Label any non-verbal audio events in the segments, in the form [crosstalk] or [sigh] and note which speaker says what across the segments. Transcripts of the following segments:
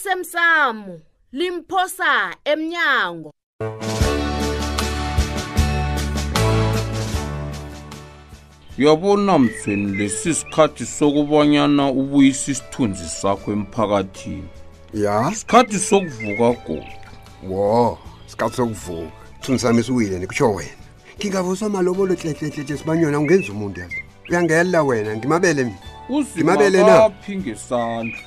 Speaker 1: osemsamo limphosa emnyango
Speaker 2: yabona mzweni lesi sikhathi sokubonyana ubuyisa isithunzi sakho emphakathini
Speaker 3: ya
Speaker 2: isikhathi sokuvuka godu
Speaker 3: wo sikhathi sokuvuka thuni sami siwile nikutsho wena ngingavuswa malobolo hlehlehlehlehle sibanyona ungenza umuntu yazo uyangela wena ngimabele mina Ngimabele na?
Speaker 2: uzimabaphi ngesandla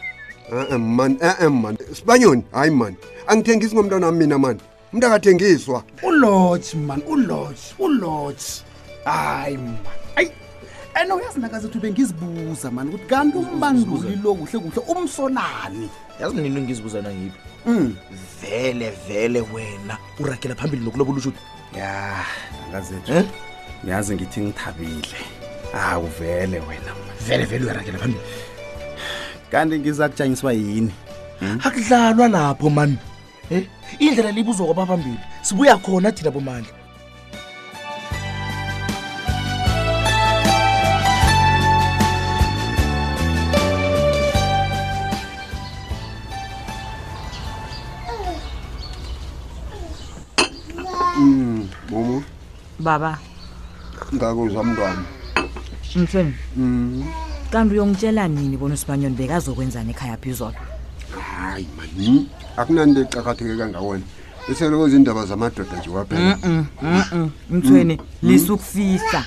Speaker 3: e-e mani e-e mani sibanyoni hayi mani angithengisi ngomntwana wami mina mani umntu akathengiswa
Speaker 4: ulots man ulots ulots hayi man ayi and uyazi nakazethu bengizibuza mani ukuthi kanti umbanduli lo kuhle kuhle umsolani Mm.
Speaker 5: yazi mina into engizibuza nangiphi vele vele wena uragela phambili nokulobola usho ukuthi
Speaker 4: ya nakazethu
Speaker 5: Eh?
Speaker 4: niyazi ngithi ngithabile awu vele wena man.
Speaker 5: vele vele uyaragela phambili
Speaker 4: kanti ngiza kutshanyiswa yini
Speaker 5: akudlalwa lapho mani um indlela libuzwa kwabaphambili sibuya khona thina bomandla
Speaker 3: mumu
Speaker 6: baba
Speaker 3: ngakuzwa mntwana
Speaker 6: mfemi
Speaker 3: Mm.
Speaker 6: kanti uyongitshela nini bona usibanyoni bekazokwenzani ekhaya phi izolo
Speaker 3: hayi hmm? mani akunanto ecakatheke kangawona beseloko zindaba zamadoda nje waphela
Speaker 6: mthweni
Speaker 3: Mm.
Speaker 6: lisukufihla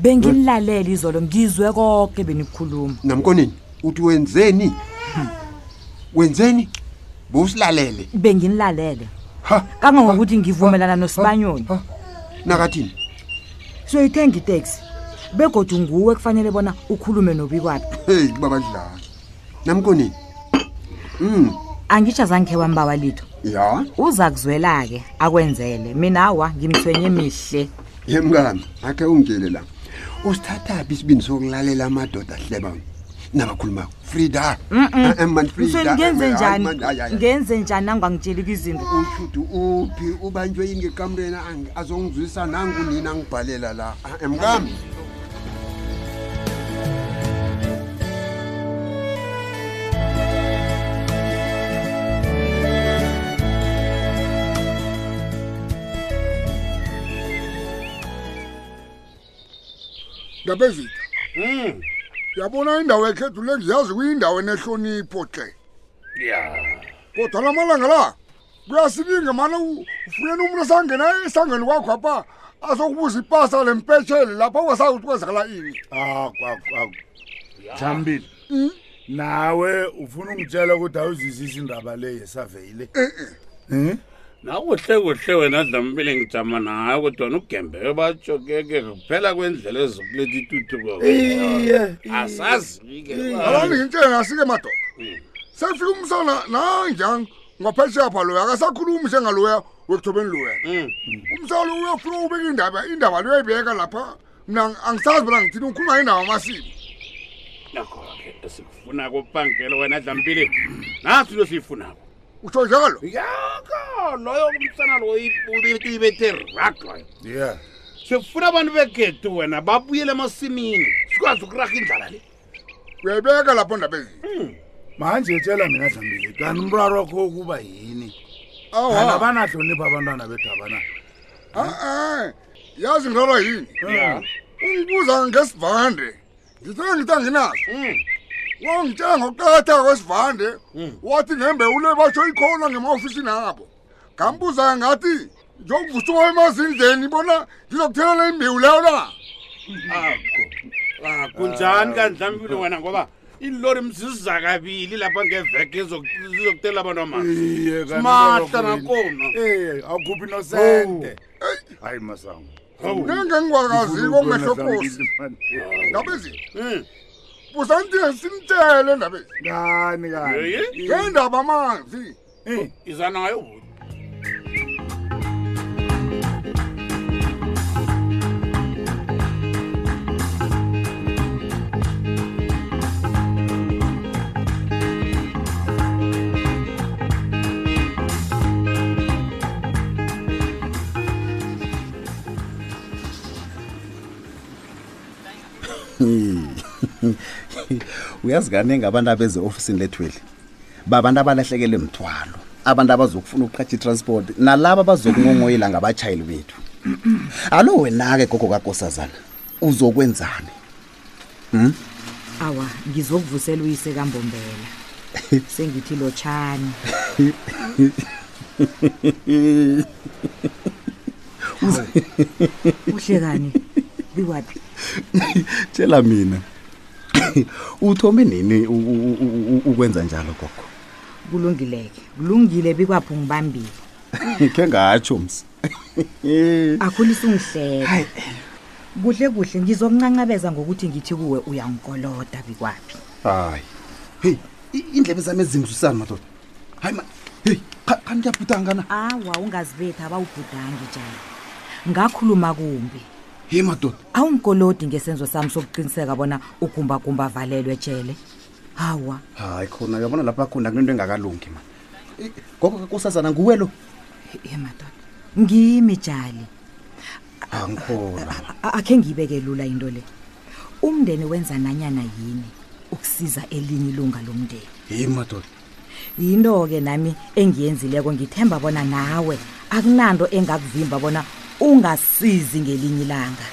Speaker 6: benginilalela izolo ngizwe konke benikukhuluma
Speaker 3: namkonini uthi wenzeni wenzeni bowusilalele
Speaker 6: benginilalele
Speaker 3: ha
Speaker 6: kangangokuthi ngivumelana nosibanyoni
Speaker 3: ha nakathini
Speaker 6: soyithenga iteksi begodwa nguwe kufanele bona ukhulume nobikwaphi
Speaker 3: heyi babadlala namkonini um
Speaker 6: angitsho azangikhe wambawa litho
Speaker 3: ya
Speaker 6: uza kuzwela-ke akwenzele mina awa ngimthwenye mihle
Speaker 3: yemngani akhe ungitshele la usithathaphi isibindi sokulalela amadoda ahlebanga nabakhulumako frida Eh, eh, man,
Speaker 6: mthweni
Speaker 3: Frida.
Speaker 6: ngenze
Speaker 3: Hayi,
Speaker 6: njani
Speaker 3: man, ah, hayi, hayi, hayi.
Speaker 6: ngenze njani nangwangitshelika izinto
Speaker 3: ushuthi uphi ubanjwe yini ngekamreni angi- azongizwisa nangu nini angibhalela la Ah, eh, mkami
Speaker 7: ndabe vita
Speaker 3: Hmm.
Speaker 7: yabona indawo ekhethu le ngiyazi kuyindawo enehlonipho ke kodwa la malanga la kuyasilinga mane ufuneni umuntu osangena esangeni kwakho apha azokubuza ipasa le mpetshele lapha ungasazi ukuthi kwenzakala ini
Speaker 8: Aku aku aku. Jambile. Nawe ufuna ungitshela ukuthi awuzizisi indaba le yesurvey le.
Speaker 7: Eh,
Speaker 9: nakuhle kuhle wena dlambile ngijama naye kodwana ugembeke batshokeke kuphela kwendlela ezokuletha ituthuko
Speaker 7: Eh.
Speaker 9: asazi-ke Eh.
Speaker 7: alani ngintshele Eh. nasike madoda sefika umsana nanjang ngaphetsheya pha loya akasakhulumi njengaloya wekuthobeni
Speaker 9: Eh.
Speaker 7: loyena umsana lo uyafuna ubeka indaba indaba loyayibeka lapha mna angisazi bona ngithini ukhuluma indaba amasimo
Speaker 9: nakho-ke esikufuna kopangelo wena dlambile nathi into siyifunako
Speaker 7: utsho njalo
Speaker 9: yako loyo umsana loibethe raglayo
Speaker 8: Yeah.
Speaker 9: sifuna abantu begethu wena babuyele emasimini sikwazi ukuraha indlala le
Speaker 7: uyayibeka lapho ndaba ezinye
Speaker 8: Hmm. Manje tshela mina Jambile, kanti umraro wakho kuba yini? Kana
Speaker 7: awa
Speaker 8: banahlonipha abantwana bedaba na?
Speaker 7: a-e yazi ngilolo yini ungibuza ngesivande ngithe ngithi anginaso
Speaker 8: Hmm.
Speaker 7: wangitshela ngokuqakatheka kwesivande
Speaker 8: Hmm.
Speaker 7: wathi ngembewule batsho ikhona ngema-ofisini abo ngambuza ngathi njokuvusuma emazindleni bona ngizokuthelela imbewu leyo na
Speaker 9: akho akunjani kandlambile wena ngoba ilori mziza kabili lapha ngeveke zizokutela abantu amasi
Speaker 3: Eh,
Speaker 8: Iye
Speaker 9: Smahla nakhona.
Speaker 8: Eh, awukhuphi no sente. Hayi masango.
Speaker 7: nengengikwakaziko ngehlokosi ndaba ezinye busandile simtshele ndaba ezi
Speaker 8: Ngani kani?
Speaker 7: ngendaba amanzi
Speaker 8: Eh,
Speaker 9: iza nayo buti
Speaker 4: uyazi kane ngabantu abeze ofisini lethweli
Speaker 10: babantu abalahlekelwe mthwalo abantu abazokufuna ukuqhatha itransport nalaba abazokungongoyela ngabatshayeli bethu alo wena-ke gogo kakosazana uzokwenzani [laughs] hmm?
Speaker 6: awa ngizokuvusela uyise kambombela sengithi lotshani uhle kani biwaphi
Speaker 10: tshela mina [coughs] uthome nini u- u- u- u- ukwenza njalo gogo [laughs]
Speaker 6: kulungileke kulungile bikwaphi ngibambile
Speaker 10: khe ngatsho [laughs] ms
Speaker 6: akhulisa ungihleka kuhle kuhle ngizokuncancabeza ngokuthi ngithi kuwe uyangikoloda bikwaphi
Speaker 10: hayi
Speaker 5: heyi i- iindlebe zami ezingizusani madoda hayi ma heyi khani kuyabhudangana
Speaker 6: awa ungazibethi abawubhudangi njani ngakhuluma kumbi
Speaker 5: heyi madoda
Speaker 6: awungikolodi ngesenzo sami sokuqiniseka bona ugumbagumba avalelwe jele hawa
Speaker 10: hayi khona uyabona lapha khona kunento engakalungi ma Eh, gogo kakosazana nguwe lo
Speaker 6: ye madoda ngimi jali
Speaker 10: angikholwa
Speaker 6: A- akhe ngiyibeke lula into le umndeni wenza nanyana yini ukusiza elinye ilunga lomndeni
Speaker 10: heyi madoda
Speaker 6: yinto-ke nami engiyenzileko ngithemba bona nawe akunanto engakuvimba bona ungasizi ngelinye ilanga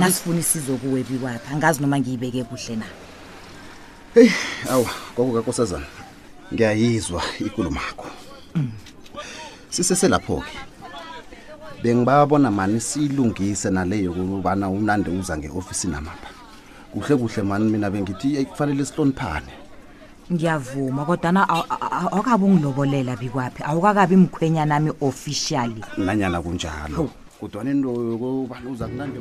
Speaker 6: nasifuna isizo kuwe bikwapha angazi noma ngiyibeke kuhle na
Speaker 10: awu gogo kakosazana ngiyayizwa ikulumakho siseselapho-ke bengibabona mani siyilungise nale yokubana umnandi uza nge-ofisini amapha kuhle kuhle mani mina bengithi "Eyi, kufanele sihloniphane
Speaker 6: ngiyavuma kodwana aw- aw- aw- awukabi ungilobolela bikwaphi awukakabi mkhwenyana nami officially
Speaker 10: nanyana kunjalo kodwana into yokubana uza kunande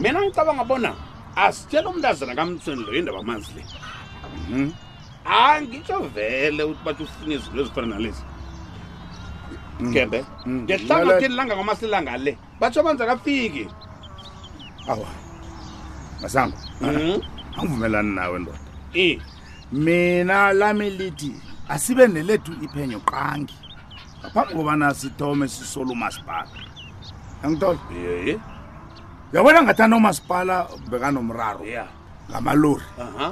Speaker 9: mina ngicabanga bona asitshela umntazana kamtsweni loyo indaba amanzi le Mhm. angitsho vele ukuthi bathi ufuna izinto ezifana nalezi gembe
Speaker 8: Mm.
Speaker 9: ngehlangatheni langa kwamasilanga le batsho amanzi akafiki
Speaker 8: awa masango angivumelani nawe ndoda
Speaker 9: Mhm. Eh.
Speaker 8: mina lami lithi asibe nelethu iphenyo qangi ngaphambi kobana sithome sisole umasipala angitola
Speaker 9: yeye
Speaker 8: yabona ngathana umasipala bekanomraro
Speaker 9: ya
Speaker 8: ngamalori
Speaker 9: aha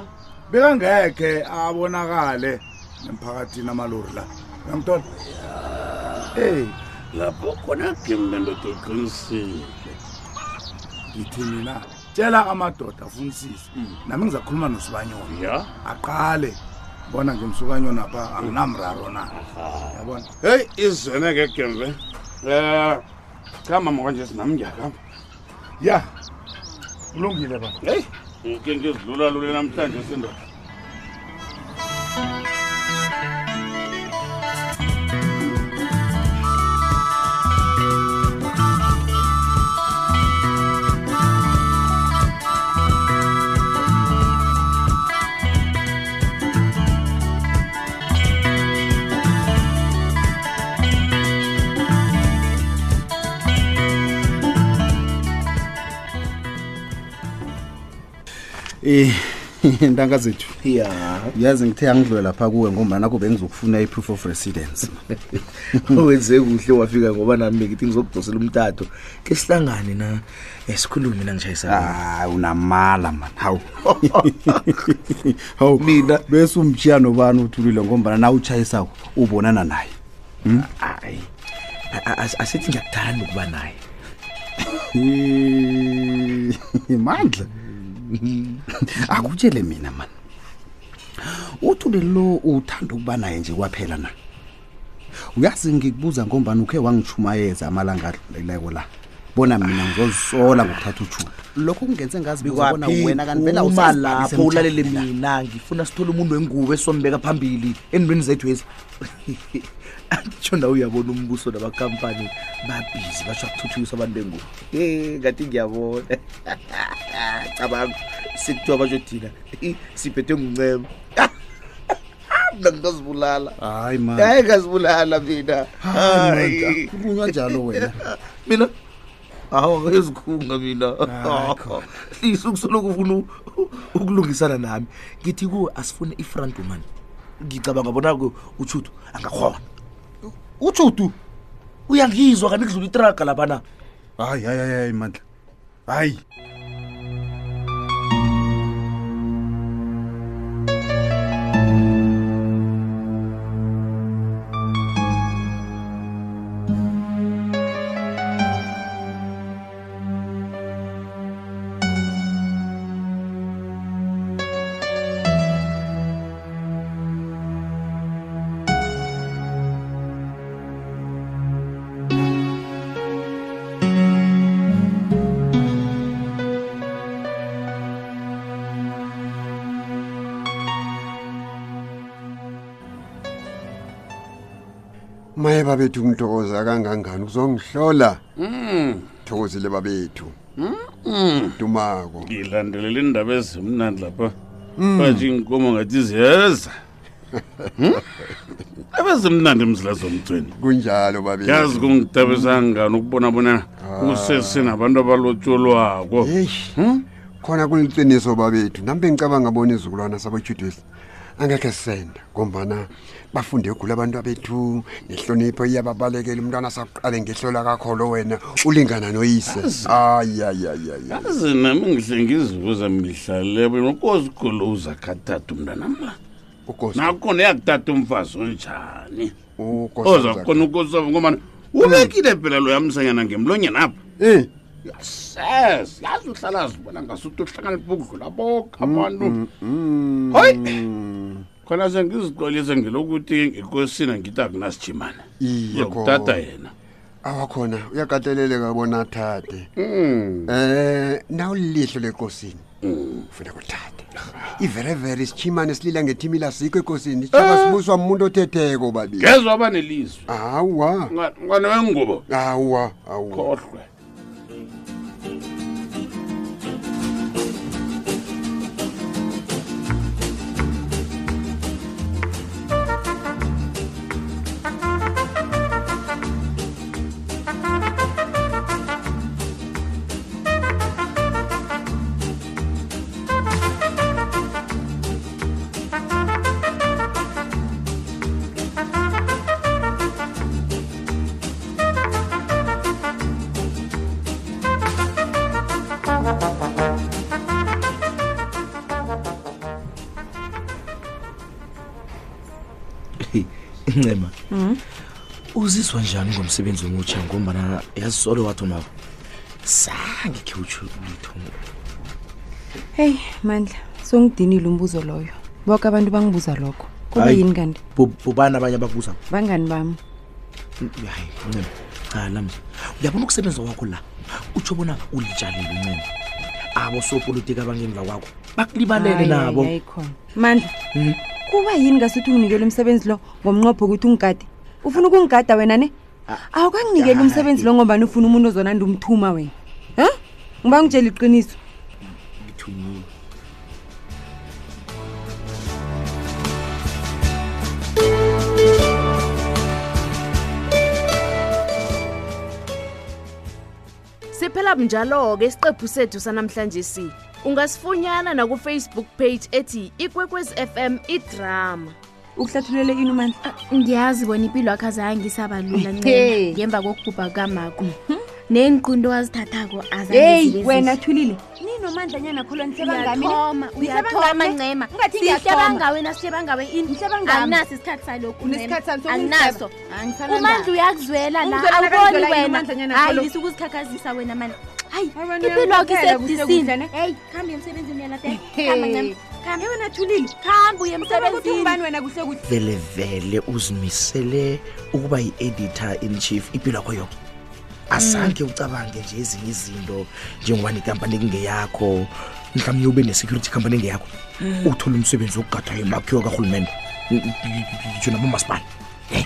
Speaker 8: bekangekhe abonakale emphakathini amalori la angitola ey
Speaker 9: lapho khona gembe ndoda uqinisile
Speaker 8: ngithi mina tshela amadoda afunisise nami ngizakhuluma nosibanyoni
Speaker 9: Mm. ya
Speaker 8: aqale bona ngimsukanyona pha anginamraro na yabona
Speaker 9: heyi izwene ke gembe um khamba mokwanje sinami ngiyakhamba
Speaker 8: ya kulungile baba
Speaker 9: heyi ngike ngizilula lule namhlanje sendoda
Speaker 10: Eh, [laughs] ntanga zethu
Speaker 5: ya
Speaker 10: yazi ngithe angidlule lapha kuwe ngombana nakho bengizokufuna i-proof of
Speaker 5: [laughs]
Speaker 10: residence
Speaker 5: wenze kuhle wafika ngoba nami bengithi ngizokudosela umtato ke sihlangane na um sikhulume mina ngishayisana
Speaker 10: hayi Ah, unamala mani hawu [laughs] hawu mina bese umtshiya nobani uthulile ngombana na utshayisako ubonana naye Hmm?
Speaker 5: hayi a- a- asithi ngiyakuthanda ukuba naye
Speaker 10: Eh, [laughs] mandla Ah, akutshele mina mani uthule lo uthanda ukuba naye nje kwaphela na uyazi ngikubuza ngombani ukhe wangishumayeza amalanga adluleleko la bona mina ngizozisola ngokuthatha utshuba lokho kungenze ngazi bezobona wena kanti vele
Speaker 5: uma
Speaker 10: awusazi
Speaker 5: lapho
Speaker 10: bani
Speaker 5: ulalele
Speaker 10: semthatha.
Speaker 5: mina ngifuna sithole umuntu wengubo esombeka phambili endweni zethu [laughs] ezi angitsho nawe uyabona umbuso nabakampani babhizi basho akuthuthukisa abantu bengubo e ngathi ngiyabona [laughs] [laughs] cabanga sekuthiwa basho thina siphethe nguncema mna ngingazibulala
Speaker 10: hayi
Speaker 5: hayi ngazibulala Ah. mina
Speaker 10: Eh,
Speaker 5: Hayi.
Speaker 10: khulunywa njalo wena
Speaker 5: mina hawa ngezikhunga mina [laughs] lisukusoloku ufuna u- ukulungisana nami ngithi kuwe asifune i-front woman ngicabanga bona-ke utshutu angakhona utshutu uyangizwa kanti kudlula itraga laphana
Speaker 10: hayi hayi hayi hayi mandla hayi
Speaker 3: maye babethu ngithokoza kangangani uzongihlola
Speaker 9: Mm.
Speaker 3: thokozile babethu
Speaker 9: Mm.
Speaker 3: dumako
Speaker 9: ngilandelela indaba ezimnandi lapha bathi inkomo ngathi ziyeza abezimnandi mzila zomthweni
Speaker 3: kunjalo babethu
Speaker 9: yazi kungidabisangani ukubona bona usesenabantu abalotsholwako
Speaker 3: yeyi khona kuliqiniso babethu nambe ngicabanga bona izukulwana sabatshudwesi angekhe sisenda ngombana bafunde ugula abantu abethu nehlonipho iyababalekela umntwana saqale ngehlola kakholo wena ulingana noyise ayayayayaye
Speaker 9: yazi nami ngihle ngizibuza mihlale bona ukozigolo uzakhatata umntanam la nakhona yakutata umfazi onjani ozakhona ukosova ngomana ubekile phela lo yamsanyana ngemlonyeni apha
Speaker 3: Eh.
Speaker 9: yes yazi uhlala azibona ngasuthi uhlakanipha ukudlula boke abantu hoyi khona sengizixolise ngelokuthi ngekosina ngithi akunasijimane
Speaker 3: Iye, khona.
Speaker 9: yokutata yena
Speaker 3: awakhona uyakateleleka bona athathe
Speaker 9: Mm.
Speaker 3: um nawulilihlo lekosini ufuna kuthatha iverevere isitshimane silila ngethimila sikho ekosini isitshaba sibuswa muntu othetheko babili
Speaker 9: ngezwa abanelizwi
Speaker 3: hawa
Speaker 9: mngane wengubo
Speaker 3: hawa hawa
Speaker 9: khohlwe
Speaker 5: incema
Speaker 11: Mhm.
Speaker 5: uzizwa njani ngomsebenzi omutsha ngombana yazisolo wathi nabo sange khe utsho litho
Speaker 11: heyi mandla songidinile umbuzo loyo boke abantu bangibuza lokho kuba
Speaker 5: Hayi.
Speaker 11: yini kanti
Speaker 5: Bu- bubani abanye abakuza
Speaker 11: bangani bami
Speaker 5: hayi ncema hayi uyabona ukusebenza kwakho la utsho bona ulitshalile ncema abosopolitiki abangemva kwakho bakulibalele
Speaker 11: Hayi,
Speaker 5: nabo Hmm?
Speaker 11: hayi, hayi khona mandla kuba yini ngasuthi unginikele umsebenzi lo ngomnqopho wokuthi ungigade ufuna ukungigada wena ne
Speaker 5: Ah,
Speaker 11: awukanginikeli umsebenzi lo ngobani ufuna umuntu ozonanda umthuma wena ha ngiba ngitshela iqiniso
Speaker 5: ngithunyiwe
Speaker 1: Siphela njalo ke isiqephu sethu sanamhlanje si. Ungasifunyana na ku Facebook page ethi Ikwekwezi FM iDrama.
Speaker 11: Uhlathulele ini mandla?
Speaker 12: Ngiyazi bona impilo yakho azange ngisaba lula
Speaker 11: [laughs] Hey.
Speaker 12: ncema ngemva kokubhubha kukamako. Neenqundo wazithathako azange
Speaker 11: heyi
Speaker 12: zibe
Speaker 11: wena
Speaker 12: zihle.
Speaker 11: thulile ninomandlanyana kholo
Speaker 12: Uyathoma, uyathoma ncema. Sihlebanga wena, sihlebanga we ini. Anginaso isikhathi salokhu
Speaker 11: Unesikhathi sami
Speaker 12: ncema.
Speaker 11: sokungihleba?
Speaker 12: Anginaso.
Speaker 11: Angisanandaba.
Speaker 12: Umandla uyakuzwela la,
Speaker 11: Ungizwela
Speaker 12: awuboni
Speaker 11: nakangizwela yini
Speaker 12: wena.
Speaker 11: umandlanyana
Speaker 12: Hayi,
Speaker 11: kholo?
Speaker 12: lisukuzikhakhazisa wena mani. Hayi,
Speaker 11: Abantu
Speaker 12: impilo yakho
Speaker 11: bayamkhokhela kuhle kuhle,
Speaker 12: isedisini. Hey, khamba emsebenzini
Speaker 11: [laughs]
Speaker 12: uyalahleka. Khamba ncema. Khamba wena thulile. Khamba uye emsebenzini.
Speaker 11: ubani wena kuhle kuhle
Speaker 5: vele vele uzimisele ukuba yi-editor in chief impilo yakho yonke asange ucabange nje ezinye izinto njengoba nekampani ekungeyakho mhlawumbe ube ne-security company engeyakho uthole umsebenzi wokugadwa emakhiwo karhulumente ngisho nabomasipala
Speaker 11: Hey,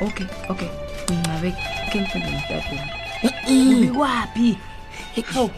Speaker 11: okay okay ngincabe khe ngifunda ngitadeni
Speaker 12: ubikwaphi
Speaker 5: hawu